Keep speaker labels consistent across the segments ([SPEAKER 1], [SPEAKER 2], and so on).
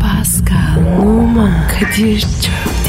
[SPEAKER 1] Pascal, Oman, Kadir çok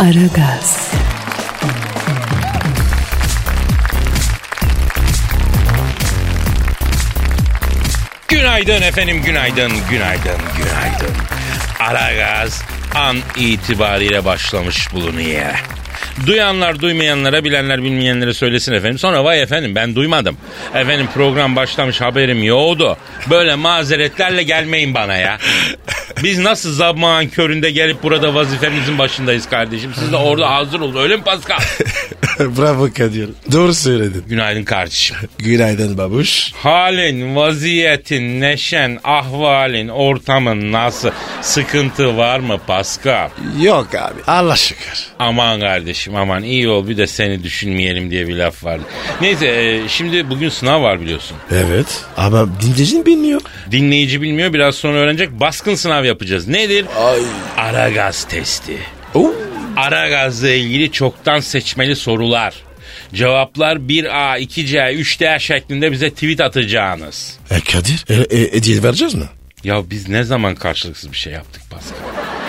[SPEAKER 1] Aragaz,
[SPEAKER 2] Günaydın efendim, günaydın, günaydın, günaydın. Ara gaz an itibariyle başlamış bulunuyor. Duyanlar duymayanlara, bilenler bilmeyenlere söylesin efendim. Sonra vay efendim ben duymadım. Efendim program başlamış haberim yoğdu. Böyle mazeretlerle gelmeyin bana ya. Biz nasıl zaman köründe gelip burada vazifemizin başındayız kardeşim. Siz de orada hazır olun öyle mi Pascal?
[SPEAKER 3] Bravo Kadir. Doğru söyledin.
[SPEAKER 2] Günaydın kardeşim.
[SPEAKER 3] Günaydın babuş.
[SPEAKER 2] Halin, vaziyetin, neşen, ahvalin, ortamın nasıl? Sıkıntı var mı Pascal?
[SPEAKER 3] Yok abi. Allah şükür.
[SPEAKER 2] Aman kardeşim aman iyi ol bir de seni düşünmeyelim diye bir laf vardı. Neyse e, şimdi bugün sınav var biliyorsun.
[SPEAKER 3] Evet. Ama dinleyicin bilmiyor.
[SPEAKER 2] Dinleyici bilmiyor biraz sonra öğrenecek baskın sınav yapacağız. Nedir?
[SPEAKER 3] Ay.
[SPEAKER 2] Ara gaz testi.
[SPEAKER 3] Oo.
[SPEAKER 2] Ara gazla ilgili çoktan seçmeli sorular. Cevaplar 1A, 2C, 3D şeklinde bize tweet atacağınız.
[SPEAKER 3] E Kadir. E, e, hediye vereceğiz mi?
[SPEAKER 2] Ya biz ne zaman karşılıksız bir şey yaptık Pascal?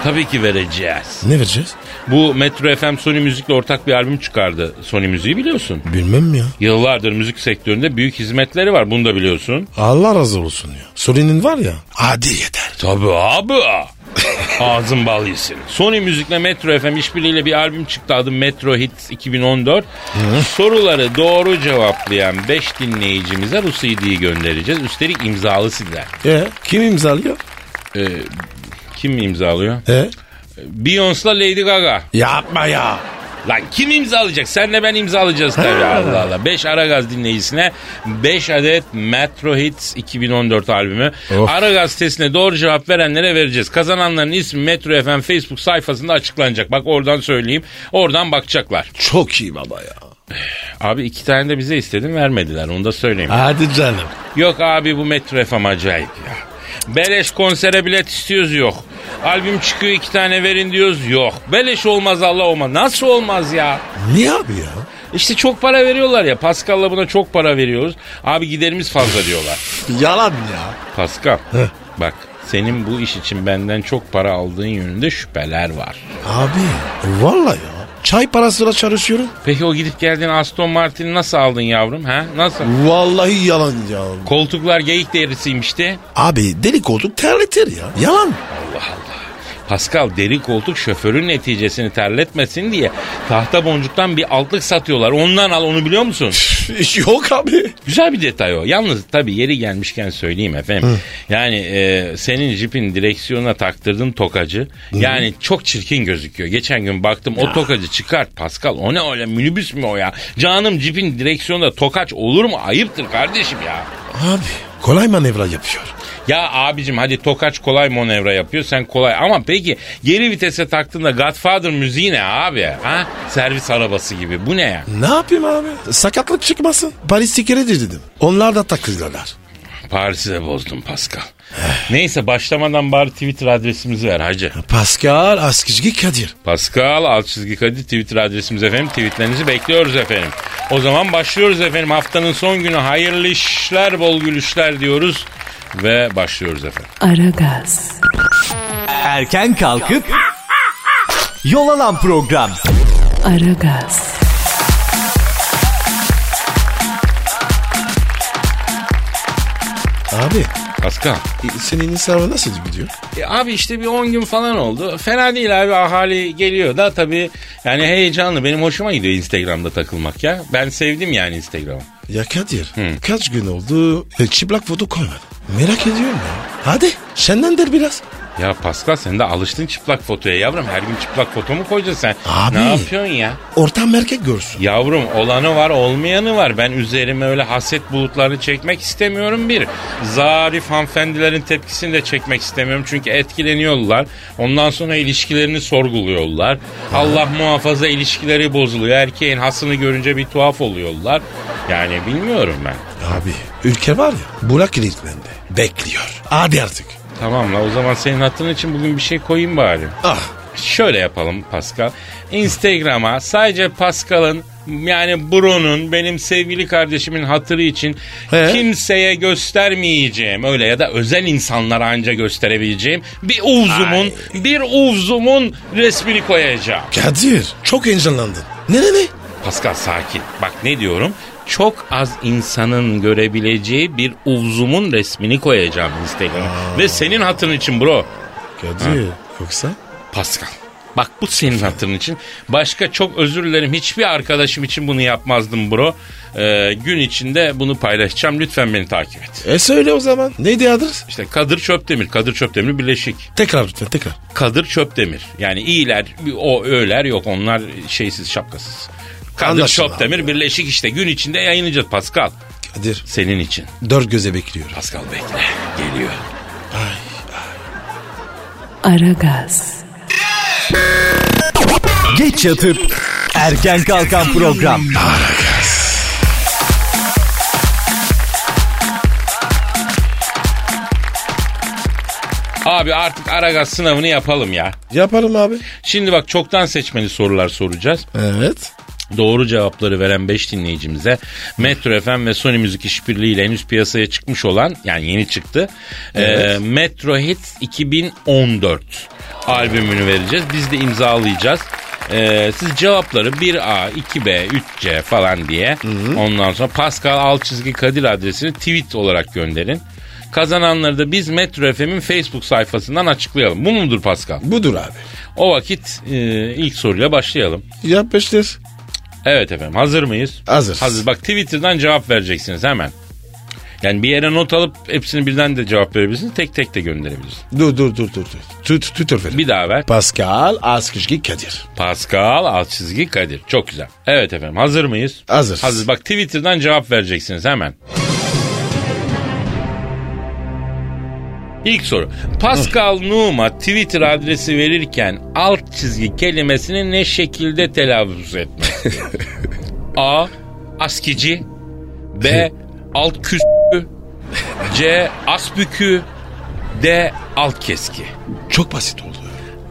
[SPEAKER 2] Tabii ki vereceğiz.
[SPEAKER 3] Ne vereceğiz?
[SPEAKER 2] Bu Metro FM Sony Müzik'le ortak bir albüm çıkardı. Sony Müzik'i biliyorsun.
[SPEAKER 3] Bilmem ya.
[SPEAKER 2] Yıllardır müzik sektöründe büyük hizmetleri var. Bunu da biliyorsun.
[SPEAKER 3] Allah razı olsun ya. Sorinin var ya. Hadi yeter.
[SPEAKER 2] Tabii abi. Ağzın bal yesin. Sony Müzik'le Metro FM işbirliğiyle bir albüm çıktı adı Metro Hits 2014. Soruları doğru cevaplayan 5 dinleyicimize bu CD'yi göndereceğiz. Üstelik imzalı CD'ler.
[SPEAKER 3] E, kim imzalıyor?
[SPEAKER 2] Ee, kim imzalıyor?
[SPEAKER 3] E?
[SPEAKER 2] Beyoncé'la Lady Gaga.
[SPEAKER 3] Yapma ya.
[SPEAKER 2] Lan kim imzalayacak? Senle ben imzalayacağız tabii Allah Allah. 5 Aragaz dinleyicisine 5 adet Metro Hits 2014 albümü.
[SPEAKER 3] Of.
[SPEAKER 2] Aragaz sitesine doğru cevap verenlere vereceğiz. Kazananların ismi Metro FM Facebook sayfasında açıklanacak. Bak oradan söyleyeyim. Oradan bakacaklar.
[SPEAKER 3] Çok iyi baba ya.
[SPEAKER 2] Abi iki tane de bize istedim vermediler. Onu da söyleyeyim.
[SPEAKER 3] Hadi canım.
[SPEAKER 2] Yok abi bu Metro FM acayip ya. Beleş konsere bilet istiyoruz yok. Albüm çıkıyor iki tane verin diyoruz yok. Beleş olmaz Allah olmaz. Nasıl olmaz ya?
[SPEAKER 3] Niye abi ya?
[SPEAKER 2] İşte çok para veriyorlar ya. Pascal'la buna çok para veriyoruz. Abi giderimiz fazla diyorlar.
[SPEAKER 3] Yalan ya.
[SPEAKER 2] Pascal bak senin bu iş için benden çok para aldığın yönünde şüpheler var.
[SPEAKER 3] Abi vallahi ya. Çay parasıyla çalışıyorum.
[SPEAKER 2] Peki o gidip geldiğin Aston Martin'i nasıl aldın yavrum? Ha? Nasıl?
[SPEAKER 3] Vallahi yalan ya.
[SPEAKER 2] Koltuklar geyik derisiymiş de.
[SPEAKER 3] Abi deli koltuk terletir ya. Yalan.
[SPEAKER 2] Allah Allah. Pascal deri koltuk şoförün neticesini terletmesin diye tahta boncuktan bir altlık satıyorlar. Ondan al onu biliyor musun?
[SPEAKER 3] Yok abi.
[SPEAKER 2] Güzel bir detay o. Yalnız tabii yeri gelmişken söyleyeyim efendim. Yani e, senin jipin direksiyonuna taktırdın tokacı. Yani çok çirkin gözüküyor. Geçen gün baktım o tokacı çıkart Pascal. O ne öyle minibüs mü o ya? Canım jipin direksiyonunda tokaç olur mu? Ayıptır kardeşim ya.
[SPEAKER 3] Abi kolay manevra yapıyor.
[SPEAKER 2] Ya abicim hadi tokaç kolay manevra yapıyor sen kolay. Ama peki geri vitese taktığında Godfather müziği ne abi? Ha? Servis arabası gibi bu ne ya?
[SPEAKER 3] Ne yapayım abi? Sakatlık çıkmasın. Paris tikeridir dedim. Onlar da takıldılar.
[SPEAKER 2] Paris'i de bozdum Pascal. Neyse başlamadan bari Twitter adresimizi ver hacı.
[SPEAKER 3] Pascal Askizgi Kadir.
[SPEAKER 2] Pascal alt çizgi Kadir Twitter adresimiz efendim. Tweetlerinizi bekliyoruz efendim. O zaman başlıyoruz efendim. Haftanın son günü hayırlı işler, bol gülüşler diyoruz. Ve başlıyoruz efendim.
[SPEAKER 1] Aragaz,
[SPEAKER 4] Erken kalkıp yol alan program.
[SPEAKER 1] Aragaz,
[SPEAKER 3] Abi
[SPEAKER 2] Pascal.
[SPEAKER 3] e, senin hesabı nasıl gidiyor?
[SPEAKER 2] E, abi işte bir 10 gün falan oldu. Fena değil abi ahali geliyor da tabii yani heyecanlı. Benim hoşuma gidiyor Instagram'da takılmak ya. Ben sevdim yani Instagram'ı.
[SPEAKER 3] Ya Kadir kaç gün oldu e, çıplak foto koymadın. Merak ediyorum ya. Hadi Şenlendir biraz.
[SPEAKER 2] Ya Pascal sen de alıştın çıplak fotoya yavrum. Her gün çıplak foto mu koyacaksın sen?
[SPEAKER 3] Abi.
[SPEAKER 2] Ne yapıyorsun ya?
[SPEAKER 3] Ortam erkek görsün.
[SPEAKER 2] Yavrum olanı var olmayanı var. Ben üzerime öyle haset bulutlarını çekmek istemiyorum bir. Zarif hanımefendilerin tepkisini de çekmek istemiyorum. Çünkü etkileniyorlar. Ondan sonra ilişkilerini sorguluyorlar. Allah muhafaza ilişkileri bozuluyor. Erkeğin hasını görünce bir tuhaf oluyorlar. Yani bilmiyorum ben.
[SPEAKER 3] Abi ülke var ya buna kilitlendi. Bekliyor. Hadi artık.
[SPEAKER 2] Tamam la o zaman senin hatırın için bugün bir şey koyayım bari.
[SPEAKER 3] Ah
[SPEAKER 2] Şöyle yapalım Pascal. Instagram'a sadece Pascal'ın yani Bruno'nun benim sevgili kardeşimin hatırı için
[SPEAKER 3] He?
[SPEAKER 2] kimseye göstermeyeceğim öyle ya da özel insanlara anca gösterebileceğim bir uvzumun bir uvzumun resmini koyacağım.
[SPEAKER 3] Kadir çok heyecanlandın. Ne ne ne?
[SPEAKER 2] Pascal sakin. Bak ne diyorum? Çok az insanın görebileceği bir uvzumun resmini koyacağım Instagram'a. Ve senin hatırın için bro.
[SPEAKER 3] Kadir yoksa?
[SPEAKER 2] Pascal. Bak bu senin hatırın için. Başka çok özür dilerim. Hiçbir arkadaşım için bunu yapmazdım bro. Ee, gün içinde bunu paylaşacağım. Lütfen beni takip et.
[SPEAKER 3] E söyle o zaman. Neydi adres?
[SPEAKER 2] İşte Kadir Çöpdemir. Kadir Çöpdemir birleşik.
[SPEAKER 3] Tekrar lütfen tekrar.
[SPEAKER 2] Kadir Çöpdemir. Yani iyiler, o öler yok. Onlar şeysiz şapkasız. Kadir
[SPEAKER 3] Anlaşılan
[SPEAKER 2] Çöpdemir birleşik işte. Gün içinde yayınlayacağız Pascal.
[SPEAKER 3] Kadir
[SPEAKER 2] Senin için.
[SPEAKER 3] dört göze bekliyor.
[SPEAKER 2] Pascal bekle. Geliyor.
[SPEAKER 1] Aragaz,
[SPEAKER 4] Geç yatıp erken kalkan program.
[SPEAKER 2] Abi artık Aragaz sınavını yapalım ya.
[SPEAKER 3] Yaparım abi.
[SPEAKER 2] Şimdi bak çoktan seçmeli sorular soracağız.
[SPEAKER 3] Evet.
[SPEAKER 2] Doğru cevapları veren 5 dinleyicimize Metro FM ve Sony Müzik işbirliğiyle henüz piyasaya çıkmış olan yani yeni çıktı.
[SPEAKER 3] Evet.
[SPEAKER 2] e, Metro Hits 2014 albümünü vereceğiz. Biz de imzalayacağız. E, siz cevapları 1A, 2B, 3C falan diye ondan sonra Pascal alt çizgi Kadir adresini tweet olarak gönderin. Kazananları da biz Metro FM'in Facebook sayfasından açıklayalım. Bu mudur Pascal?
[SPEAKER 3] Budur abi.
[SPEAKER 2] O vakit e, ilk soruyla başlayalım.
[SPEAKER 3] Yapıştır.
[SPEAKER 2] Evet efendim hazır mıyız?
[SPEAKER 3] Hazırız.
[SPEAKER 2] Hazır. Bak Twitter'dan cevap vereceksiniz hemen. Yani bir yere not alıp hepsini birden de cevap verebilirsiniz. Tek tek de gönderebilirsiniz.
[SPEAKER 3] Dur dur dur dur. dur. Tut, Twitter ver.
[SPEAKER 2] Bir daha ver.
[SPEAKER 3] Pascal Askışki Kadir.
[SPEAKER 2] Pascal alt çizgi Kadir. Çok güzel. Evet efendim hazır mıyız?
[SPEAKER 3] Hazırız.
[SPEAKER 2] Hazır. Bak Twitter'dan cevap vereceksiniz hemen. İlk soru. Pascal Numa Twitter adresi verirken alt çizgi kelimesini ne şekilde telaffuz etmek? A. Askici B. Alt küskü C. Asbükü D. Alt keski
[SPEAKER 3] Çok basit oldu.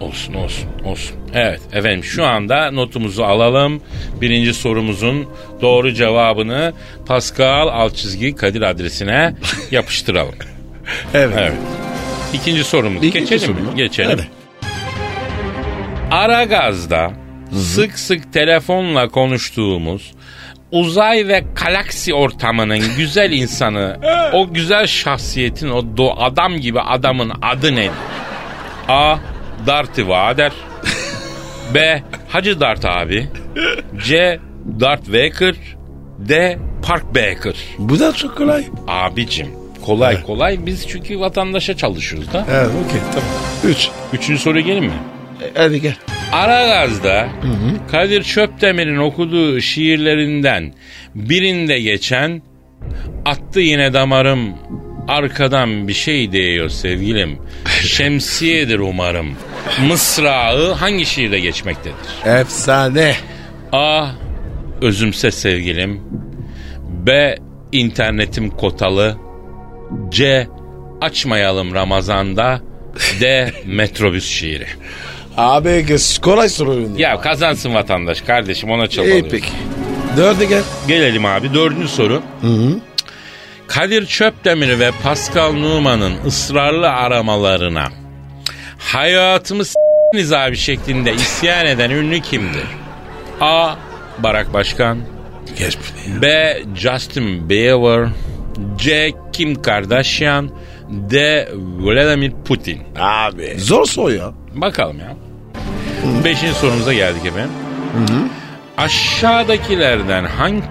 [SPEAKER 2] Olsun olsun olsun. Evet efendim şu anda notumuzu alalım. Birinci sorumuzun doğru cevabını Pascal alt çizgi Kadir adresine yapıştıralım.
[SPEAKER 3] Evet.
[SPEAKER 2] Evet. İkinci sorumuz.
[SPEAKER 3] İkinci
[SPEAKER 2] Geçelim
[SPEAKER 3] soru.
[SPEAKER 2] mi? Geçelim.
[SPEAKER 3] Hadi.
[SPEAKER 2] Ara gazda sık sık telefonla konuştuğumuz uzay ve galaksi ortamının güzel insanı, o güzel şahsiyetin, o do- adam gibi adamın adı nedir? A. Darth Vader B. Hacı Dart abi C. Darth Vader D. Park Baker
[SPEAKER 3] Bu da çok kolay.
[SPEAKER 2] Abicim kolay kolay biz çünkü vatandaşa çalışıyoruz da.
[SPEAKER 3] Evet okey tamam. Üç.
[SPEAKER 2] Üçüncü soru gelin mi?
[SPEAKER 3] E, Hadi gel.
[SPEAKER 2] Aragaz'da Kadir Çöpdemir'in okuduğu şiirlerinden birinde geçen attı yine damarım arkadan bir şey değiyor sevgilim. Şemsiyedir umarım. Mısrağı hangi şiirde geçmektedir?
[SPEAKER 3] Efsane.
[SPEAKER 2] A. Özümse sevgilim. B. internetim kotalı. C. Açmayalım Ramazan'da. D. Metrobüs şiiri.
[SPEAKER 3] Abi kız kolay soru.
[SPEAKER 2] Ya kazansın vatandaş kardeşim ona
[SPEAKER 3] İyi
[SPEAKER 2] çabalıyor.
[SPEAKER 3] peki. Dörde gel.
[SPEAKER 2] Gelelim abi dördüncü soru. Kadir Çöpdemir ve Pascal Numan'ın ısrarlı aramalarına hayatımı s***niz abi şeklinde isyan eden ünlü kimdir? A. Barak Başkan
[SPEAKER 3] Geç bile.
[SPEAKER 2] B. Justin Bieber C. Kim Kardashian D. Vladimir Putin
[SPEAKER 3] Abi. Zor soru ya.
[SPEAKER 2] Bakalım ya. Beşinci sorumuza geldik efendim. Aşağıdakilerden hangi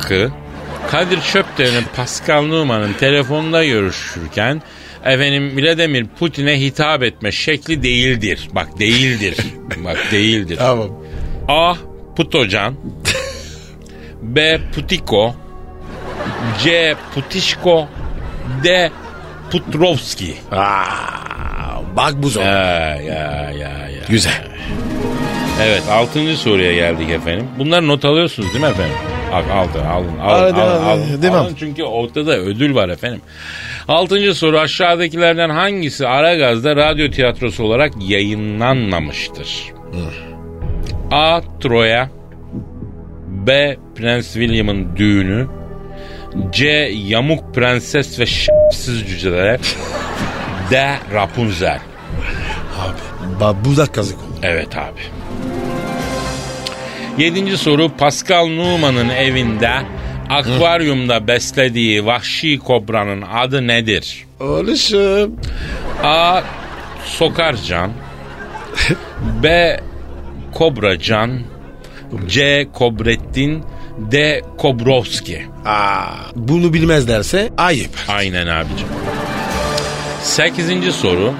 [SPEAKER 2] Kadir Çöpdemir'in Pascal Numan'ın telefonda görüşürken efendim Vladimir Putin'e hitap etme şekli değildir. Bak değildir. Bak değildir.
[SPEAKER 3] Tamam.
[SPEAKER 2] A. Putocan B. Putiko C. Putişko D. Putrovski
[SPEAKER 3] Aa, bak bu zor.
[SPEAKER 2] Ya ya ya ya.
[SPEAKER 3] Güzel.
[SPEAKER 2] Evet 6. soruya geldik efendim. Bunları not alıyorsunuz değil mi efendim? Al- Aldı, alın, alın, alın,
[SPEAKER 3] Hadi,
[SPEAKER 2] alın,
[SPEAKER 3] hadi,
[SPEAKER 2] alın.
[SPEAKER 3] devam.
[SPEAKER 2] Alın çünkü ortada ödül var efendim. Altıncı soru aşağıdakilerden hangisi Aragaz'da radyo tiyatrosu olarak yayınlanmamıştır? A. Troya B. Prens William'ın düğünü C. Yamuk Prenses ve Şerefsiz Cüceler D. Rapunzel
[SPEAKER 3] Abi. Bak bu da kazık oldu.
[SPEAKER 2] Evet abi. Yedinci soru Pascal Numan'ın evinde akvaryumda beslediği vahşi kobranın adı nedir?
[SPEAKER 3] Oğlum.
[SPEAKER 2] A. Sokarcan B. Kobracan C. Kobrettin D. Kobrovski
[SPEAKER 3] Aa, bunu bilmezlerse ayıp.
[SPEAKER 2] Aynen abicim. Sekizinci soru.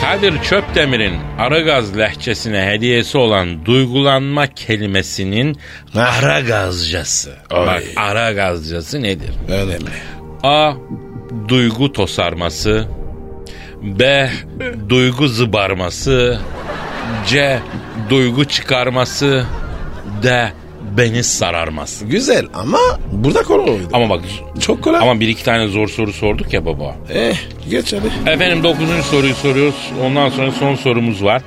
[SPEAKER 2] Kadir Çöpdemir'in Aragaz lehçesine hediyesi olan duygulanma kelimesinin Aragazcası. Bak Aragazcası nedir?
[SPEAKER 3] Önemli.
[SPEAKER 2] A. Duygu tosarması. B. Duygu zıbarması. C. Duygu çıkarması. D. Beni sararması.
[SPEAKER 3] Güzel ama burada kolaydı.
[SPEAKER 2] Ama bak
[SPEAKER 3] Çok kolay.
[SPEAKER 2] ama bir iki tane zor soru sorduk ya baba.
[SPEAKER 3] Eh geç hadi.
[SPEAKER 2] Efendim 9. soruyu soruyoruz. Ondan sonra son sorumuz var.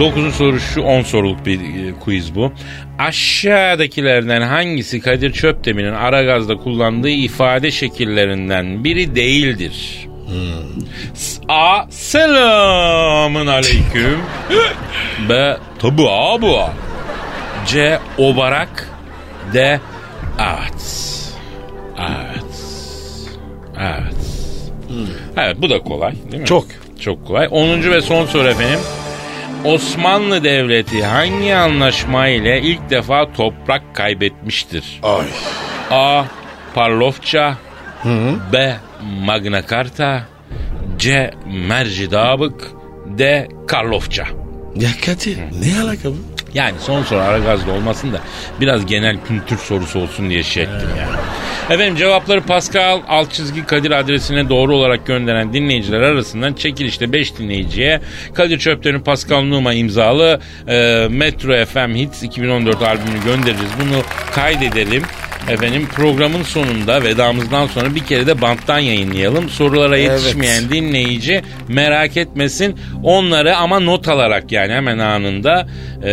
[SPEAKER 2] 9. soru şu 10 soruluk bir e, quiz bu. Aşağıdakilerden hangisi Kadir Çöpdemir'in Aragaz'da kullandığı ifade şekillerinden biri değildir? S- A. Selamın aleyküm. B. Tabu abi. C. Obarak. D. Evet. Evet. Evet. Evet bu da kolay değil mi?
[SPEAKER 3] Çok.
[SPEAKER 2] Çok kolay. 10. ve son soru efendim. Osmanlı Devleti hangi anlaşma ile ilk defa toprak kaybetmiştir?
[SPEAKER 3] Ay.
[SPEAKER 2] A. Parlofça B. Magna Carta C. Mercidabık D. Karlofça
[SPEAKER 3] Ya Kadir ne alaka bu?
[SPEAKER 2] yani son soru Aragaz'da olmasın da biraz genel kültür sorusu olsun diye şey ettim yani. Efendim cevapları Pascal alt çizgi Kadir adresine doğru olarak gönderen dinleyiciler arasından çekilişte 5 dinleyiciye Kadir Çöpten'in Pascal Numa imzalı e, Metro FM Hits 2014 albümünü göndereceğiz. Bunu kaydedelim. Efendim programın sonunda vedamızdan sonra bir kere de banttan yayınlayalım. Sorulara yetişmeyen dinleyici merak etmesin. Onları ama not alarak yani hemen anında e,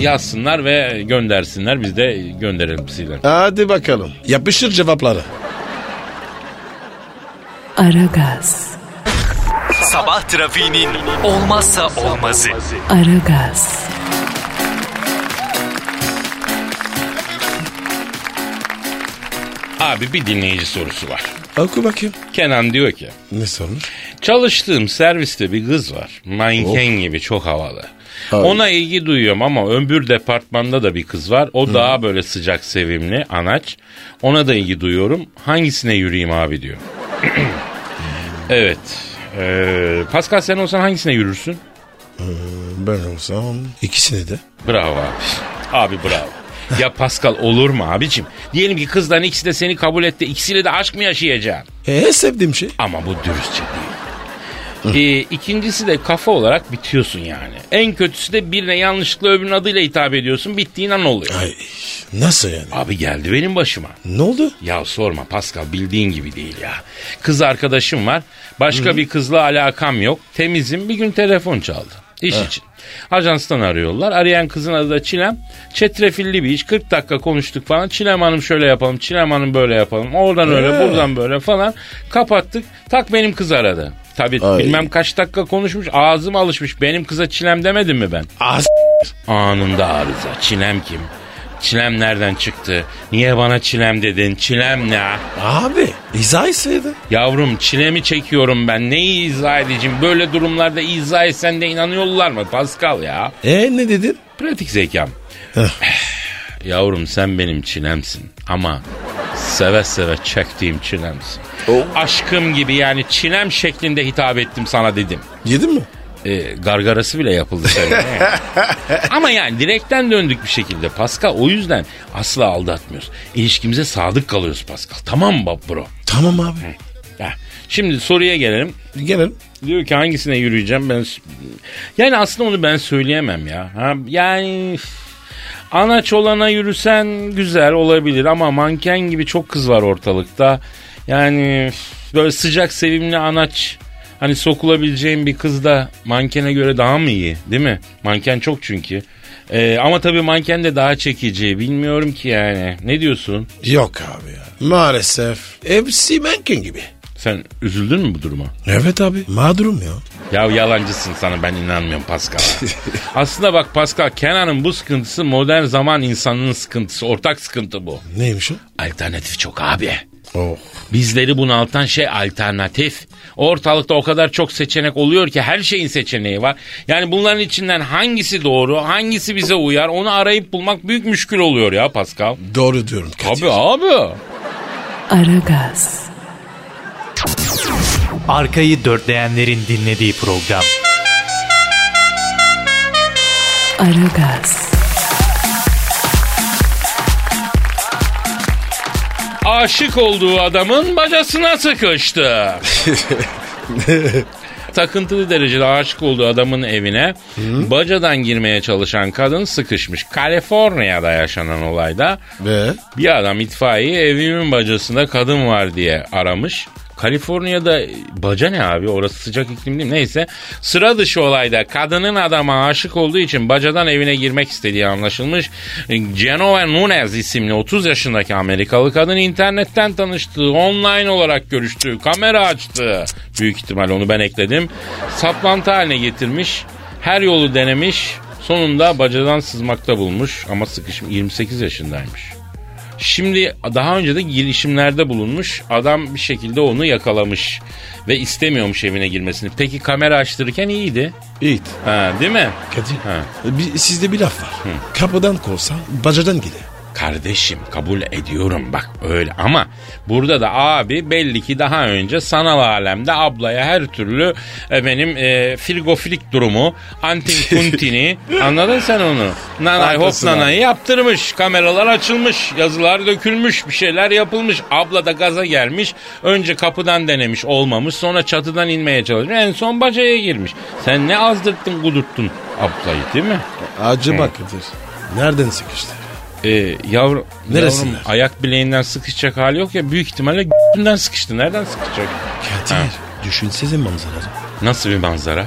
[SPEAKER 2] yazsınlar ve göndersinler. Biz de gönderelim sizlere.
[SPEAKER 3] Hadi bakalım. Yapışır cevapları.
[SPEAKER 1] Aragaz,
[SPEAKER 4] Sabah trafiğinin olmazsa olmazı.
[SPEAKER 1] Aragaz,
[SPEAKER 2] Abi bir dinleyici sorusu var.
[SPEAKER 3] Oku bakayım.
[SPEAKER 2] Kenan diyor ki
[SPEAKER 3] Ne sormuş?
[SPEAKER 2] çalıştığım serviste bir kız var. Manken gibi çok havalı.
[SPEAKER 3] Abi.
[SPEAKER 2] Ona ilgi duyuyorum ama öbür departmanda da bir kız var. O daha böyle sıcak sevimli anaç. Ona da ilgi duyuyorum. Hangisine yürüyeyim abi diyor. evet. Ee, Pascal sen olsan hangisine yürürsün?
[SPEAKER 3] Ben olsam ikisini de.
[SPEAKER 2] Bravo abi. Abi bravo. Ya Pascal olur mu abicim? Diyelim ki kızların ikisi de seni kabul etti. İkisiyle de aşk mı yaşayacaksın?
[SPEAKER 3] E sevdiğim şey.
[SPEAKER 2] Ama bu dürüstçe değil. Ee, ikincisi de kafa olarak bitiyorsun yani. En kötüsü de birine yanlışlıkla öbürünün adıyla hitap ediyorsun. Bittiğin an oluyor.
[SPEAKER 3] Ay nasıl yani?
[SPEAKER 2] Abi geldi benim başıma.
[SPEAKER 3] Ne oldu?
[SPEAKER 2] Ya sorma Pascal bildiğin gibi değil ya. Kız arkadaşım var. Başka bir kızla alakam yok. Temizim bir gün telefon çaldı. İş için. Ajanstan arıyorlar. Arayan kızın adı da Çilem. Çetrefilli bir iş. 40 dakika konuştuk falan. Çilem Hanım şöyle yapalım. Çilem Hanım böyle yapalım. Oradan öyle buradan böyle falan. Kapattık. Tak benim kız aradı. Tabii
[SPEAKER 3] Ay.
[SPEAKER 2] bilmem kaç dakika konuşmuş. Ağzım alışmış. Benim kıza Çilem demedim mi ben?
[SPEAKER 3] Az.
[SPEAKER 2] Anında arıza. Çilem kim? Çilem nereden çıktı? Niye bana çilem dedin? Çilem ne?
[SPEAKER 3] Abi izah etseydi.
[SPEAKER 2] Yavrum çilemi çekiyorum ben. Neyi izah edeceğim? Böyle durumlarda izah etsen de inanıyorlar mı Pascal ya?
[SPEAKER 3] E ne dedin?
[SPEAKER 2] Pratik zekam. Yavrum sen benim çilemsin ama Seve seve çektiğim çilemsin. Aşkım gibi yani çilem şeklinde hitap ettim sana dedim.
[SPEAKER 3] Yedin mi?
[SPEAKER 2] E, gargarası bile yapıldı seninle. Ama yani direkten döndük bir şekilde Pascal. O yüzden asla aldatmıyoruz. İlişkimize sadık kalıyoruz Pascal. Tamam mı bab- bro?
[SPEAKER 3] Tamam abi.
[SPEAKER 2] Ya, şimdi soruya gelelim.
[SPEAKER 3] Gelelim.
[SPEAKER 2] Diyor ki hangisine yürüyeceğim ben s- yani aslında onu ben söyleyemem ya. Ha, yani üf. anaç olana yürüsen güzel olabilir ama manken gibi çok kız var ortalıkta. Yani üf, böyle sıcak sevimli anaç hani sokulabileceğin bir kız da mankene göre daha mı iyi değil mi? Manken çok çünkü. Ee, ama tabii manken de daha çekici bilmiyorum ki yani. Ne diyorsun?
[SPEAKER 3] Yok abi ya. Maalesef. Hepsi manken gibi.
[SPEAKER 2] Sen üzüldün mü bu duruma?
[SPEAKER 3] Evet abi. Mağdurum ya.
[SPEAKER 2] Ya yalancısın sana ben inanmıyorum Pascal. Aslında bak Pascal Kenan'ın bu sıkıntısı modern zaman insanının sıkıntısı. Ortak sıkıntı bu.
[SPEAKER 3] Neymiş o?
[SPEAKER 2] Alternatif çok abi.
[SPEAKER 3] Oh.
[SPEAKER 2] Bizleri bunaltan şey alternatif. Ortalıkta o kadar çok seçenek oluyor ki her şeyin seçeneği var. Yani bunların içinden hangisi doğru, hangisi bize uyar onu arayıp bulmak büyük müşkül oluyor ya Pascal.
[SPEAKER 3] Doğru diyorum. Kadir.
[SPEAKER 2] Tabii abi.
[SPEAKER 1] Aragaz,
[SPEAKER 4] Arkayı dörtleyenlerin dinlediği program.
[SPEAKER 1] Aragaz,
[SPEAKER 2] aşık olduğu adamın bacasına sıkıştı. Takıntılı derecede aşık olduğu adamın evine bacadan girmeye çalışan kadın sıkışmış. Kaliforniya'da yaşanan olayda
[SPEAKER 3] Ve?
[SPEAKER 2] bir adam itfaiye evimin bacasında kadın var diye aramış. Kaliforniya'da baca ne abi orası sıcak iklim değil mi? Neyse sıra dışı olayda kadının adama aşık olduğu için bacadan evine girmek istediği anlaşılmış. Genova Nunez isimli 30 yaşındaki Amerikalı kadın internetten tanıştığı, online olarak görüştüğü, kamera açtığı büyük ihtimal onu ben ekledim. Saplantı haline getirmiş, her yolu denemiş, sonunda bacadan sızmakta bulmuş ama sıkışmış 28 yaşındaymış. Şimdi daha önce de girişimlerde bulunmuş. Adam bir şekilde onu yakalamış ve istemiyormuş evine girmesini. Peki kamera açtırırken iyiydi.
[SPEAKER 3] Yiğit.
[SPEAKER 2] Ha, değil mi?
[SPEAKER 3] Kadir.
[SPEAKER 2] Ha.
[SPEAKER 3] Bir, sizde bir laf var. Kapıdan korsan bacadan gider.
[SPEAKER 2] Kardeşim kabul ediyorum bak öyle ama burada da abi belli ki daha önce sanal alemde ablaya her türlü benim e, frigofilik durumu antin kuntini anladın sen onu nanay hop
[SPEAKER 3] Haklısın abi.
[SPEAKER 2] nanayı yaptırmış kameralar açılmış yazılar dökülmüş bir şeyler yapılmış abla da gaza gelmiş önce kapıdan denemiş olmamış sonra çatıdan inmeye çalışmış en son bacaya girmiş sen ne azdırttın kudurttun ablayı değil mi?
[SPEAKER 3] Acı bak Kadir. Nereden sıkıştı?
[SPEAKER 2] Ee, yavru,
[SPEAKER 3] Neresinden?
[SPEAKER 2] yavrum ayak bileğinden sıkışacak hali yok ya büyük ihtimalle günden sıkıştı. Nereden sıkışacak?
[SPEAKER 3] Kadir. Düşünsene manzarası.
[SPEAKER 2] Nasıl bir manzara?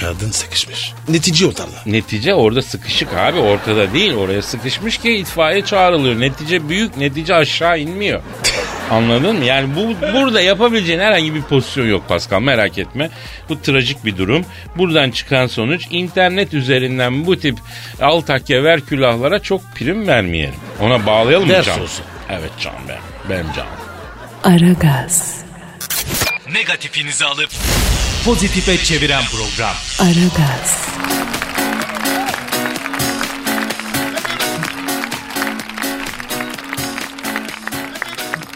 [SPEAKER 3] Kadın sıkışmış. Netice otarla.
[SPEAKER 2] Netice orada sıkışık abi ortada değil oraya sıkışmış ki itfaiye çağrılıyor. Netice büyük netice aşağı inmiyor. Anladın mı? Yani bu burada yapabileceğin herhangi bir pozisyon yok Pascal merak etme. Bu trajik bir durum. Buradan çıkan sonuç internet üzerinden bu tip altakya ver külahlara çok prim vermeyelim. Ona bağlayalım mı
[SPEAKER 3] Ders
[SPEAKER 2] Can?
[SPEAKER 3] olsun.
[SPEAKER 2] Evet Can benim. Benim Can.
[SPEAKER 1] Aragaz,
[SPEAKER 4] Negatifinizi alıp pozitife çeviren program.
[SPEAKER 1] Aragaz,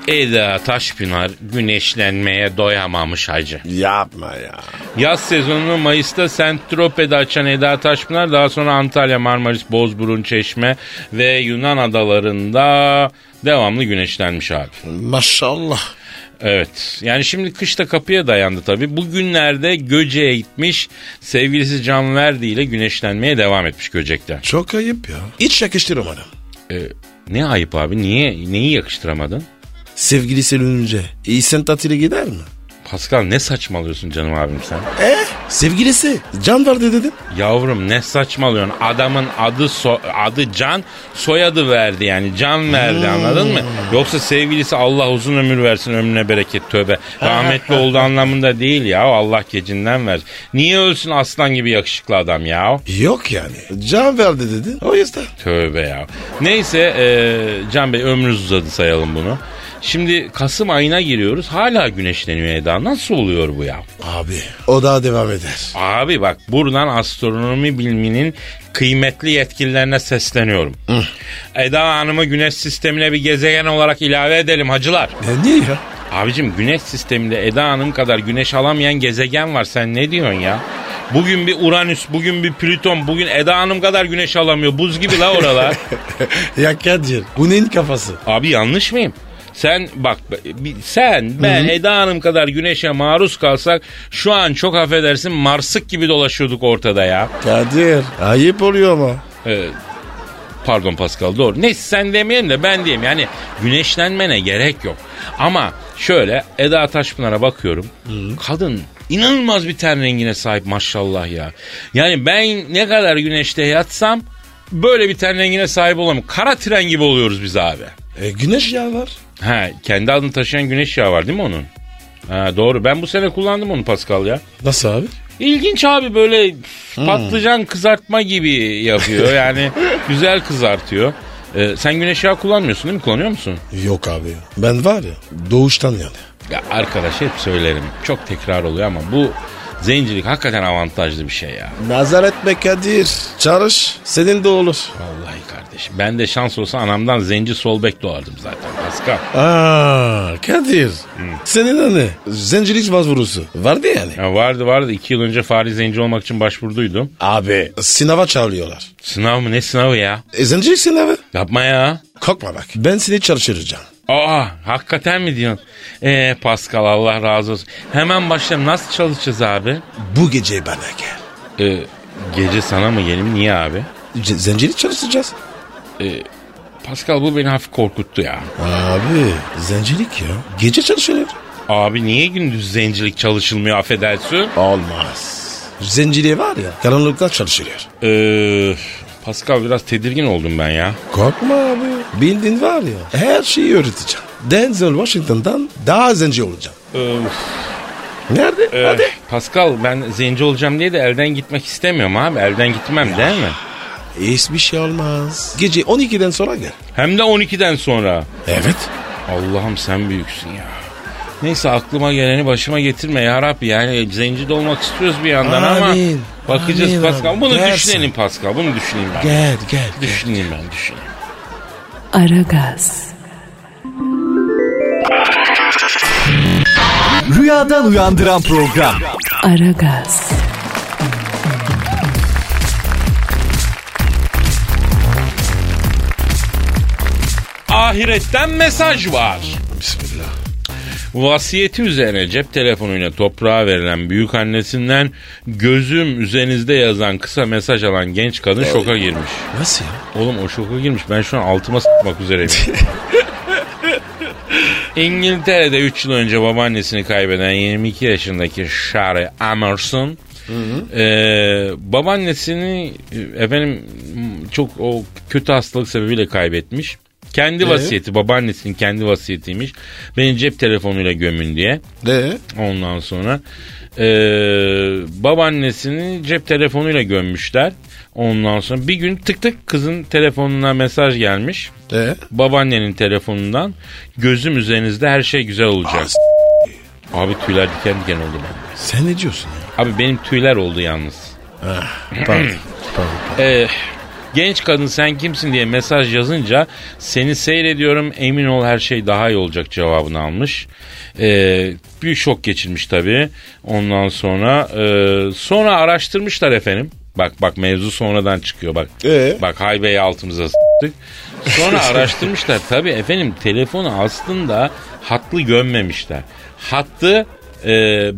[SPEAKER 2] Eda Taşpınar güneşlenmeye doyamamış hacı.
[SPEAKER 3] Yapma ya.
[SPEAKER 2] Yaz sezonunu Mayıs'ta Sentrope'de açan Eda Taşpınar daha sonra Antalya, Marmaris, Bozburun, Çeşme ve Yunan adalarında devamlı güneşlenmiş abi.
[SPEAKER 3] Maşallah.
[SPEAKER 2] Evet. Yani şimdi kış da kapıya dayandı tabii. Bugünlerde Göce'ye gitmiş sevgilisi Can Verdi ile güneşlenmeye devam etmiş Göcek'ten.
[SPEAKER 3] Çok ayıp ya. Hiç yakıştıramadım.
[SPEAKER 2] Ee, ne ayıp abi? Niye? Neyi yakıştıramadın?
[SPEAKER 3] Sevgilisi ölünce. İhsan tatile gider mi?
[SPEAKER 2] Pascal ne saçmalıyorsun canım abim sen?
[SPEAKER 3] E? Sevgilisi. Can verdi dedim.
[SPEAKER 2] Yavrum ne saçmalıyorsun? Adamın adı so- adı Can, soyadı verdi yani. Can verdi anladın mı? Yoksa sevgilisi Allah uzun ömür versin ömrüne bereket tövbe. Rahmetli oldu anlamında değil ya. Allah gecinden versin. Niye ölsün aslan gibi yakışıklı adam ya?
[SPEAKER 3] Yok yani. Can verdi dedin. O yüzden.
[SPEAKER 2] Tövbe ya. Neyse e, Can Bey ömrünüz uzadı sayalım bunu. Şimdi Kasım ayına giriyoruz. Hala güneşleniyor Eda. Nasıl oluyor bu ya?
[SPEAKER 3] Abi o daha devam eder.
[SPEAKER 2] Abi bak buradan astronomi biliminin kıymetli yetkililerine sesleniyorum. Eda Hanım'ı güneş sistemine bir gezegen olarak ilave edelim hacılar.
[SPEAKER 3] E, niye ya?
[SPEAKER 2] Abicim güneş sisteminde Eda Hanım kadar güneş alamayan gezegen var. Sen ne diyorsun ya? Bugün bir Uranüs, bugün bir Plüton, bugün Eda Hanım kadar güneş alamıyor. Buz gibi la oralar.
[SPEAKER 3] ya Kadir bu neyin kafası?
[SPEAKER 2] Abi yanlış mıyım? Sen bak bi- sen ben Eda Hanım kadar güneşe maruz kalsak şu an çok affedersin marsık gibi dolaşıyorduk ortada ya.
[SPEAKER 3] Kadir ayıp oluyor ama.
[SPEAKER 2] Ee, pardon Pascal doğru. Neyse sen demeyelim de ben diyeyim. Yani güneşlenmene gerek yok. Ama şöyle Eda Taşpınar'a bakıyorum. Kadın inanılmaz bir ten rengine sahip maşallah ya. Yani ben ne kadar güneşte yatsam böyle bir ten rengine sahip olamam. Kara tren gibi oluyoruz biz abi.
[SPEAKER 3] E, güneş yağı var.
[SPEAKER 2] Ha kendi adını taşıyan güneş yağı var değil mi onun? Ha, doğru ben bu sene kullandım onu Pascal ya.
[SPEAKER 3] Nasıl abi?
[SPEAKER 2] İlginç abi böyle patlıcan kızartma gibi yapıyor yani güzel kızartıyor. Ee, sen güneş yağı kullanmıyorsun değil mi? Kullanıyor musun?
[SPEAKER 3] Yok abi. Ben var ya doğuştan yani.
[SPEAKER 2] Ya arkadaş hep söylerim. Çok tekrar oluyor ama bu zencilik hakikaten avantajlı bir şey ya.
[SPEAKER 3] Nazar etme Kadir. Çalış senin de olur.
[SPEAKER 2] Vallahi kardeşim. Ben de şans olsa anamdan zenci sol bek doğardım zaten Pascal.
[SPEAKER 3] Aa Kadir. Senin de ne? Zencilik başvurusu. Vardı yani.
[SPEAKER 2] Ya vardı vardı. iki yıl önce fare zenci olmak için başvurduydum.
[SPEAKER 3] Abi sınava çağırıyorlar.
[SPEAKER 2] Sınav mı ne sınavı ya?
[SPEAKER 3] E, zencilik sınavı.
[SPEAKER 2] Yapma ya.
[SPEAKER 3] Korkma bak. Ben seni çalıştıracağım.
[SPEAKER 2] Aa hakikaten mi diyorsun? Ee Pascal Allah razı olsun. Hemen başlayalım. Nasıl çalışacağız abi?
[SPEAKER 3] Bu gece bana gel.
[SPEAKER 2] Ee, gece sana mı gelim? Niye abi?
[SPEAKER 3] C- zencilik çalışacağız.
[SPEAKER 2] Pascal bu beni hafif korkuttu ya.
[SPEAKER 3] Abi zencilik ya. Gece çalışılır.
[SPEAKER 2] Abi niye gündüz zencilik çalışılmıyor affedersin?
[SPEAKER 3] Olmaz. Zenciliği var ya karanlıkta çalışılıyor.
[SPEAKER 2] Ee, Pascal biraz tedirgin oldum ben ya.
[SPEAKER 3] Korkma abi. Bildiğin var ya her şeyi öğreteceğim. Denzel Washington'dan daha zenci olacağım.
[SPEAKER 2] Ee,
[SPEAKER 3] Nerede?
[SPEAKER 2] e,
[SPEAKER 3] Hadi.
[SPEAKER 2] Pascal ben zenci olacağım diye de elden gitmek istemiyorum abi. Elden gitmem değil mi?
[SPEAKER 3] Hiçbir şey olmaz. Gece 12'den sonra gel.
[SPEAKER 2] Hem de 12'den sonra.
[SPEAKER 3] Evet.
[SPEAKER 2] Allah'ım sen büyüksün ya. Neyse aklıma geleni başıma getirme ya Rabbi. Yani zenci de olmak istiyoruz bir yandan
[SPEAKER 3] Amin.
[SPEAKER 2] ama bakacağız
[SPEAKER 3] Amin
[SPEAKER 2] Pascal.
[SPEAKER 3] abi.
[SPEAKER 2] Bunu
[SPEAKER 3] Gelsin.
[SPEAKER 2] düşünelim Pascal. Bunu düşüneyim ben.
[SPEAKER 3] Gel gel. gel.
[SPEAKER 2] Düşüneyim ben düşüneyim.
[SPEAKER 1] Aragaz,
[SPEAKER 4] Rüyadan uyandıran program.
[SPEAKER 1] Aragaz,
[SPEAKER 2] Ahiretten mesaj var.
[SPEAKER 3] Bismillah.
[SPEAKER 2] Vasiyeti üzerine cep telefonuyla toprağa verilen büyük annesinden gözüm üzerinizde yazan kısa mesaj alan genç kadın şoka girmiş.
[SPEAKER 3] Nasıl ya?
[SPEAKER 2] Oğlum o şoka girmiş. Ben şu an altıma s**mak üzereyim. İngiltere'de 3 yıl önce babaannesini kaybeden 22 yaşındaki Shari Emerson eee, babaannesini e, efendim m- çok o kötü hastalık sebebiyle kaybetmiş. Kendi vasiyeti babaannesinin kendi vasiyetiymiş. Beni cep telefonuyla gömün diye.
[SPEAKER 3] Ne?
[SPEAKER 2] Ondan sonra eee, babaannesini cep telefonuyla gömmüşler. Ondan sonra bir gün tık tık kızın telefonuna mesaj gelmiş.
[SPEAKER 3] Ne?
[SPEAKER 2] Babaannenin telefonundan gözüm üzerinizde her şey güzel olacak.
[SPEAKER 3] As-
[SPEAKER 2] Abi tüyler diken diken oldu bende.
[SPEAKER 3] Sen ne diyorsun ya?
[SPEAKER 2] Abi benim tüyler oldu yalnız.
[SPEAKER 3] Pardon. pardon.
[SPEAKER 2] Eh, genç kadın sen kimsin diye mesaj yazınca seni seyrediyorum emin ol her şey daha iyi olacak cevabını almış. Eh, bir şok geçirmiş tabii. Ondan sonra eh, sonra araştırmışlar efendim. Bak bak mevzu sonradan çıkıyor bak.
[SPEAKER 3] Ee?
[SPEAKER 2] Bak haybeyi altımıza s**tık. Sonra araştırmışlar tabii efendim telefonu aslında hatlı gömmemişler. Hattı e,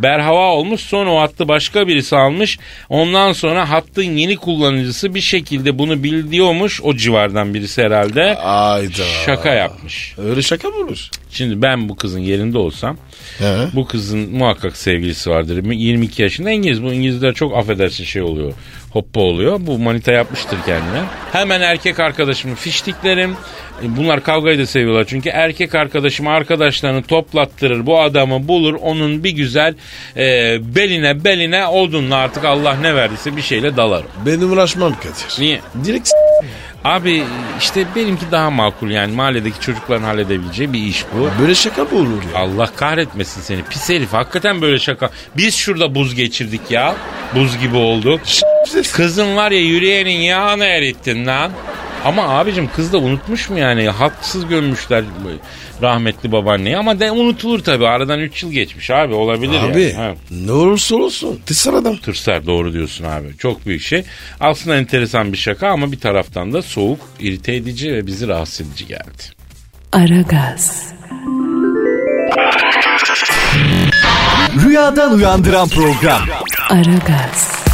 [SPEAKER 2] berhava olmuş sonra o hattı başka birisi almış. Ondan sonra hattın yeni kullanıcısı bir şekilde bunu biliyormuş o civardan birisi herhalde.
[SPEAKER 3] Ayda.
[SPEAKER 2] Şaka yapmış.
[SPEAKER 3] Öyle şaka mı olur?
[SPEAKER 2] Şimdi ben bu kızın yerinde olsam
[SPEAKER 3] He.
[SPEAKER 2] bu kızın muhakkak sevgilisi vardır. 22 yaşında İngiliz. Bu İngilizler çok affedersin şey oluyor. Hoppa oluyor. Bu manita yapmıştır kendine. Hemen erkek arkadaşımı fiştiklerim. E, Bunlar kavgayı da seviyorlar çünkü. Erkek arkadaşımı arkadaşlarını toplattırır. Bu adamı bulur. Onun bir güzel e, beline beline odunla artık Allah ne verdiyse bir şeyle dalarım.
[SPEAKER 3] Ben uğraşmam Kadir.
[SPEAKER 2] Niye?
[SPEAKER 3] Direkt
[SPEAKER 2] Abi işte benimki daha makul yani mahalledeki çocukların halledebileceği bir iş bu.
[SPEAKER 3] Böyle şaka mı olur ya?
[SPEAKER 2] Allah kahretmesin seni pis herif hakikaten böyle şaka. Biz şurada buz geçirdik ya. Buz gibi olduk. Kızın var ya yürüyenin yağını erittin lan. Ama abicim kız da unutmuş mu yani? Haksız gömmüşler rahmetli babaanneyi ama de unutulur tabii. Aradan 3 yıl geçmiş abi olabilir
[SPEAKER 3] Abi
[SPEAKER 2] yani. Ha.
[SPEAKER 3] ne olursa olsun tesir adam.
[SPEAKER 2] Tırsar doğru diyorsun abi. Çok büyük şey. Aslında enteresan bir şaka ama bir taraftan da soğuk, irite edici ve bizi rahatsız edici geldi.
[SPEAKER 1] Aragaz,
[SPEAKER 4] Rüyadan uyandıran program.
[SPEAKER 1] Aragaz,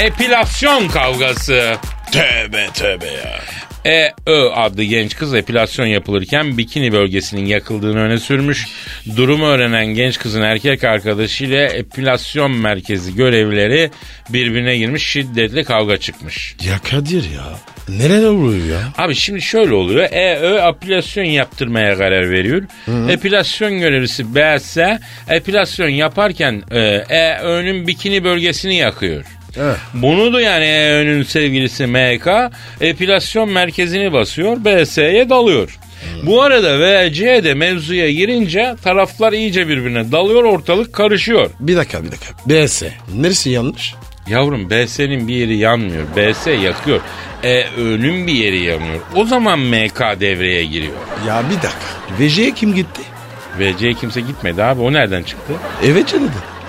[SPEAKER 2] Epilasyon kavgası.
[SPEAKER 3] Tövbe tövbe ya.
[SPEAKER 2] E Ö adlı genç kız epilasyon yapılırken bikini bölgesinin yakıldığını öne sürmüş. Durumu öğrenen genç kızın erkek arkadaşıyla epilasyon merkezi görevlileri birbirine girmiş şiddetli kavga çıkmış.
[SPEAKER 3] Ya Kadir ya. Neler oluyor ya?
[SPEAKER 2] Abi şimdi şöyle oluyor. EÖ apilasyon yaptırmaya karar veriyor. Epilasyon görevlisi B'se epilasyon yaparken e, EÖ'nün bikini bölgesini yakıyor.
[SPEAKER 3] Evet.
[SPEAKER 2] Bunu da yani EÖ'nün sevgilisi MK epilasyon merkezini basıyor BS'ye dalıyor. Bu arada VC de mevzuya girince taraflar iyice birbirine dalıyor ortalık karışıyor.
[SPEAKER 3] Bir dakika bir dakika. BS. Neresi yanlış?
[SPEAKER 2] Yavrum BS'nin bir yeri yanmıyor. BS yakıyor. EÖ'nün E, bir yeri yanıyor. O zaman MK devreye giriyor.
[SPEAKER 3] Ya bir dakika. VC'ye kim gitti?
[SPEAKER 2] VC'ye kimse gitmedi abi. O nereden çıktı?
[SPEAKER 3] Evet dedi.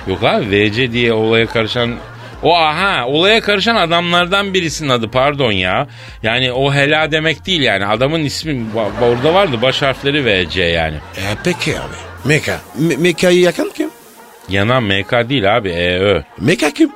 [SPEAKER 2] Yok abi VC diye olaya karışan... O aha olaya karışan adamlardan birisinin adı pardon ya. Yani o hela demek değil yani. Adamın ismi ba- orada vardı baş harfleri VC yani.
[SPEAKER 3] E peki abi. Meka. Me- Meka'yı yakan kim?
[SPEAKER 2] Yanan MK değil abi EÖ.
[SPEAKER 3] Meka kim?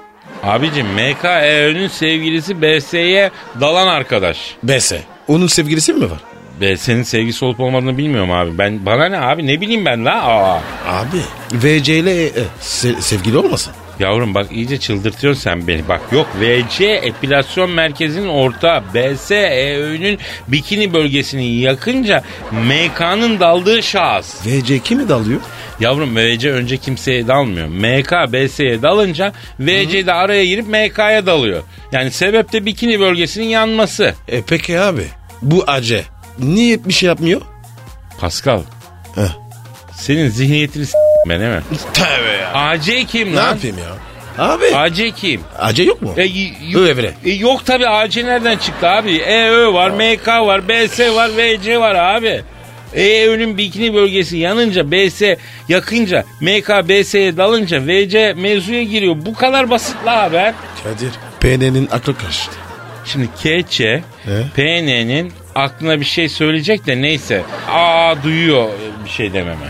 [SPEAKER 2] Abicim MK EÖ'nün sevgilisi BS'ye dalan arkadaş.
[SPEAKER 3] BS. Onun sevgilisi mi var?
[SPEAKER 2] Be, senin sevgisi olup olmadığını bilmiyorum abi. Ben bana ne abi ne bileyim ben la. Aa.
[SPEAKER 3] Abi. VC ile e, e. Se- sevgili olmasın?
[SPEAKER 2] Yavrum bak iyice çıldırtıyorsun sen beni. Bak yok VC epilasyon merkezinin orta BS EÖ'nün E bikini bölgesini yakınca MK'nın daldığı şahıs.
[SPEAKER 3] VC kimi dalıyor?
[SPEAKER 2] Yavrum VC önce kimseye dalmıyor. MK BS'ye dalınca VC de araya girip MK'ya dalıyor. Yani sebep de bikini bölgesinin yanması.
[SPEAKER 3] E peki abi. Bu Ace. Niye bir şey yapmıyor?
[SPEAKER 2] Pascal
[SPEAKER 3] Heh.
[SPEAKER 2] senin zihniyetini s- ben değil mi?
[SPEAKER 3] Tövbe ya.
[SPEAKER 2] AC kim
[SPEAKER 3] Ne
[SPEAKER 2] lan?
[SPEAKER 3] yapayım ya? Abi.
[SPEAKER 2] AC kim?
[SPEAKER 3] Ace yok mu?
[SPEAKER 2] E, y- yok,
[SPEAKER 3] Övre.
[SPEAKER 2] E, yok tabi AC nereden çıktı abi? EÖ var, MK var, BS var, VC var abi. EÖ'nün bikini bölgesi yanınca, BS yakınca, MK BS'ye dalınca, VC mevzuya giriyor. Bu kadar basit la haber.
[SPEAKER 3] Kadir. PN'nin aklı karıştı.
[SPEAKER 2] Şimdi KÇ, PN'nin aklına bir şey söyleyecek de neyse. Aa duyuyor e, bir şey dememe.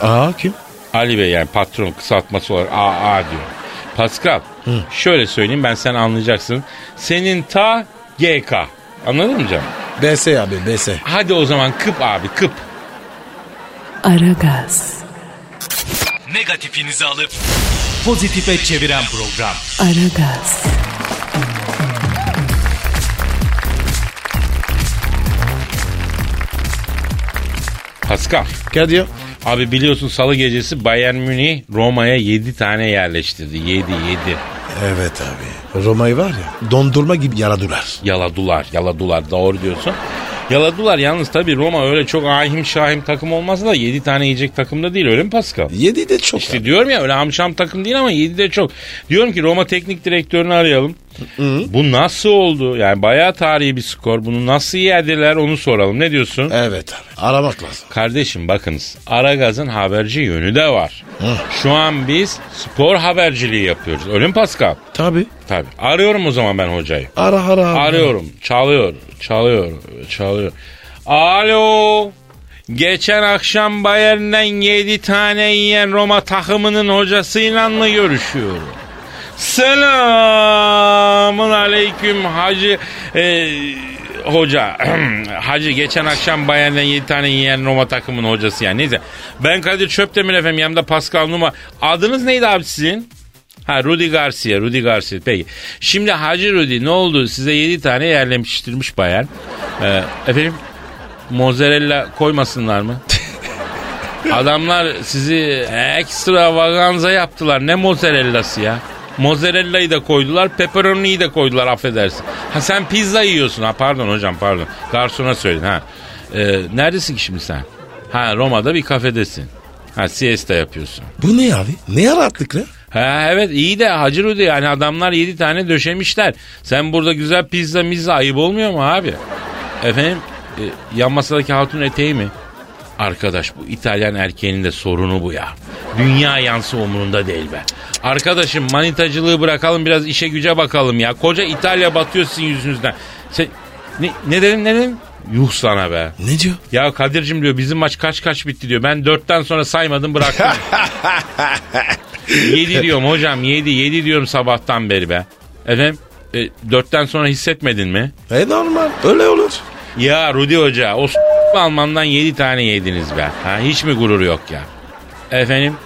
[SPEAKER 3] Aa, aa, kim?
[SPEAKER 2] Ali Bey yani patron kısaltması olarak AA diyor. Pascal şöyle söyleyeyim ben sen anlayacaksın. Senin ta GK. Anladın mı canım?
[SPEAKER 3] BS abi BS.
[SPEAKER 2] Hadi o zaman kıp abi kıp.
[SPEAKER 1] Aragaz,
[SPEAKER 4] Negatifinizi alıp pozitife çeviren program.
[SPEAKER 1] Aragaz,
[SPEAKER 2] Pascal.
[SPEAKER 3] Kadir.
[SPEAKER 2] Abi biliyorsun salı gecesi Bayern Münih Roma'ya 7 tane yerleştirdi. 7 7.
[SPEAKER 3] Evet abi. Roma'yı var ya dondurma gibi yaradılar.
[SPEAKER 2] Yaladular yaladular doğru diyorsun. Yaladular yalnız tabii Roma öyle çok ahim şahim takım olmasa da 7 tane yiyecek takım da değil öyle mi Pascal?
[SPEAKER 3] Yedi de çok.
[SPEAKER 2] İşte diyorum ya öyle amşam takım değil ama 7'de çok. Diyorum ki Roma teknik direktörünü arayalım. Bu nasıl oldu? Yani bayağı tarihi bir skor. Bunu nasıl yediler onu soralım. Ne diyorsun?
[SPEAKER 3] Evet abi. Aramak lazım.
[SPEAKER 2] Kardeşim bakınız Aragaz'ın haberci yönü de var. Şu an biz spor haberciliği yapıyoruz. Öyle mi Pascal?
[SPEAKER 3] Tabi.
[SPEAKER 2] Tabii. Arıyorum o zaman ben hocayı.
[SPEAKER 3] Ara ara. abi.
[SPEAKER 2] Arıyorum. Çalıyor. Çalıyor. Çalıyor. Alo. Geçen akşam Bayern'den 7 tane yiyen Roma takımının hocasıyla mı görüşüyorum? Selamun aleyküm hacı e, hoca. hacı geçen akşam Bayern'den 7 tane yiyen Roma takımının hocası yani. Neyse. Ben Kadir Çöptemir efendim yanımda Pascal Numa. Adınız neydi abi sizin? Ha Rudy Garcia, Rudy Garcia. Peki. Şimdi Hacı Rudy ne oldu? Size 7 tane E, yerlemiştirmiş bayan. Ee, efendim mozzarella koymasınlar mı? Adamlar sizi ekstravaganza yaptılar. Ne mozzarellası ya? Mozzarella'yı da koydular, pepperoni'yi de koydular affedersin. Ha sen pizza yiyorsun. Ha pardon hocam pardon. Garsona söyledin ha. Ee, neredesin ki şimdi sen? Ha Roma'da bir kafedesin. Ha siesta yapıyorsun.
[SPEAKER 3] Bu ne abi? Ne yarattık lan?
[SPEAKER 2] Ha evet iyi de Hacı Rudi yani adamlar 7 tane döşemişler. Sen burada güzel pizza mizza ayıp olmuyor mu abi? Efendim e, yan masadaki hatun eteği mi? Arkadaş bu İtalyan erkeğinin de sorunu bu ya. Dünya yansı umurunda değil be. Arkadaşım manitacılığı bırakalım biraz işe güce bakalım ya. Koca İtalya batıyor sizin yüzünüzden. Sen, ne, ne dedim ne dedim? Yuh sana be.
[SPEAKER 3] Ne diyor?
[SPEAKER 2] Ya Kadir'cim diyor bizim maç kaç kaç bitti diyor. Ben dörtten sonra saymadım bıraktım. yedi diyorum hocam yedi yedi diyorum sabahtan beri be. Efendim e, dörtten sonra hissetmedin mi?
[SPEAKER 3] E normal. Öyle olur.
[SPEAKER 2] Ya Rudi Hoca o s- Alman'dan yedi tane yediniz be. Ha, hiç mi gurur yok ya? Efendim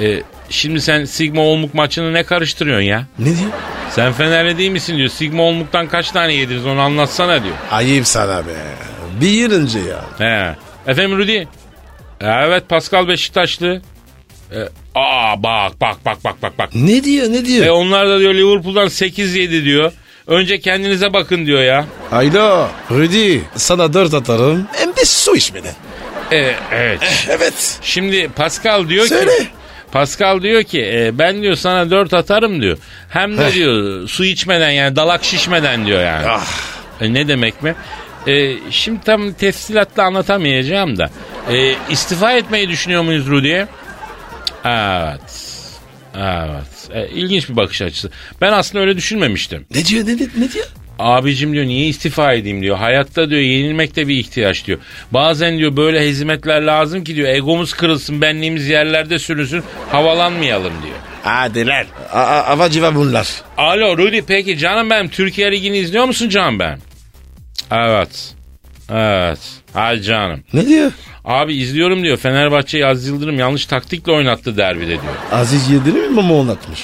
[SPEAKER 2] e, şimdi sen Sigma Olmuk maçını ne karıştırıyorsun ya?
[SPEAKER 3] Ne diyor?
[SPEAKER 2] Sen Fenerli değil misin diyor. Sigma Olmuk'tan kaç tane yediniz onu anlatsana diyor.
[SPEAKER 3] Ayıp sana be. Bir önce ya.
[SPEAKER 2] He. Efendim Rudi? E, Evet Pascal Beşiktaşlı. E, aa bak bak bak bak bak bak.
[SPEAKER 3] Ne diyor ne diyor?
[SPEAKER 2] E onlar da diyor Liverpool'dan 8-7 diyor. Önce kendinize bakın diyor ya.
[SPEAKER 3] Ayda. Rudy sana dört atarım. Hem de su içmeden.
[SPEAKER 2] E, evet.
[SPEAKER 3] Evet.
[SPEAKER 2] Şimdi Pascal diyor
[SPEAKER 3] Söyle.
[SPEAKER 2] ki Pascal diyor ki e, ben diyor sana 4 atarım diyor. Hem de
[SPEAKER 3] Heh.
[SPEAKER 2] diyor su içmeden yani dalak şişmeden diyor yani.
[SPEAKER 3] Ah.
[SPEAKER 2] E, ne demek mi? E, şimdi tam tefsilatla anlatamayacağım da. E, istifa etmeyi düşünüyor muyuz Rudy'ye? Evet. Evet. E, ilginç bir bakış açısı. Ben aslında öyle düşünmemiştim.
[SPEAKER 3] Ne diyor ne, ne, ne diyor?
[SPEAKER 2] Abicim diyor niye istifa edeyim diyor. Hayatta diyor yenilmek de bir ihtiyaç diyor. Bazen diyor böyle hizmetler lazım ki diyor egomuz kırılsın benliğimiz yerlerde sürünsün havalanmayalım diyor.
[SPEAKER 3] Hadi lan. A- a- Ava civa bunlar.
[SPEAKER 2] Alo Rudy peki canım benim Türkiye Ligi'ni izliyor musun canım ben? Evet. Evet. Hadi canım.
[SPEAKER 3] Ne diyor?
[SPEAKER 2] Abi izliyorum diyor Fenerbahçe'yi Aziz Yıldırım yanlış taktikle oynattı derbide diyor.
[SPEAKER 3] Aziz Yıldırım mı mı oynatmış?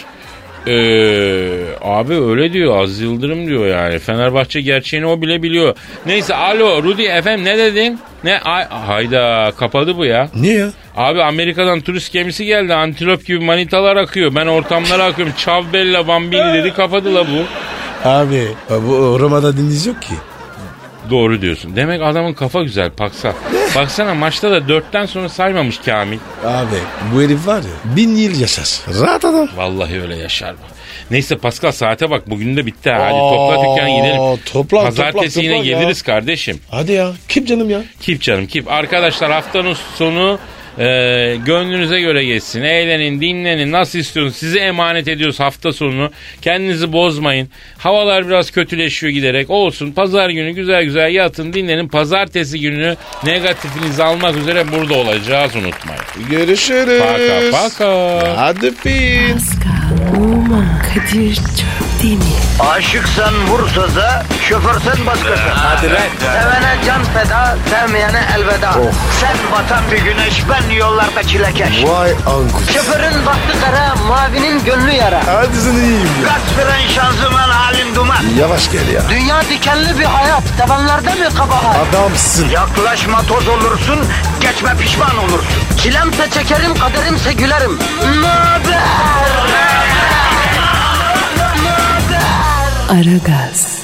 [SPEAKER 2] Ee, abi öyle diyor Aziz Yıldırım diyor yani. Fenerbahçe gerçeğini o bile biliyor. Neyse alo Rudy efendim ne dedin? Ne ay, hayda kapadı bu ya.
[SPEAKER 3] Niye ya?
[SPEAKER 2] Abi Amerika'dan turist gemisi geldi. Antilop gibi manitalar akıyor. Ben ortamlara akıyorum. Çavbella Bambini dedi kapadı la bu.
[SPEAKER 3] Abi e, bu Roma'da deniz yok ki.
[SPEAKER 2] Doğru diyorsun. Demek adamın kafa güzel Paksa. Baksana maçta da dörtten sonra saymamış Kamil.
[SPEAKER 3] Abi bu herif var ya bin yıl yaşar. Rahat adam.
[SPEAKER 2] Vallahi öyle yaşar bu. Neyse Pascal saate bak bugün de bitti. ha. Hadi topla dükkanı gidelim.
[SPEAKER 3] topla,
[SPEAKER 2] Pazartesi
[SPEAKER 3] topla,
[SPEAKER 2] yine
[SPEAKER 3] topla ya.
[SPEAKER 2] geliriz kardeşim.
[SPEAKER 3] Hadi ya. Kim canım ya?
[SPEAKER 2] Kip canım kip. Arkadaşlar haftanın sonu e, gönlünüze göre geçsin. Eğlenin, dinlenin. Nasıl istiyorsunuz? Size emanet ediyoruz hafta sonunu. Kendinizi bozmayın. Havalar biraz kötüleşiyor giderek. Olsun. Pazar günü güzel güzel yatın, dinlenin. Pazartesi günü negatifinizi almak üzere burada olacağız unutmayın.
[SPEAKER 3] Görüşürüz.
[SPEAKER 2] Paka paka.
[SPEAKER 3] Hadi pin.
[SPEAKER 1] Pascal, Oman, Kadir çok değil mi?
[SPEAKER 5] Aşıksan vursa da, şoförsen başkasın. Hadi lan. Oh. Sevene can feda, sevmeyene elveda. Sen batan bir güneş, ben yollarda çilekeş.
[SPEAKER 3] Vay anku.
[SPEAKER 5] Şoförün baktı kara, mavinin gönlü yara.
[SPEAKER 3] Hadi sen iyiyim ya.
[SPEAKER 5] Kasperen şanzıman halin duman.
[SPEAKER 3] Yavaş gel ya.
[SPEAKER 5] Dünya dikenli bir hayat, sevenlerde mi kabahar?
[SPEAKER 3] Adamsın.
[SPEAKER 5] Yaklaşma toz olursun, geçme pişman olursun. Çilemse çekerim, kaderimse gülerim. Möber!
[SPEAKER 1] Aragaz.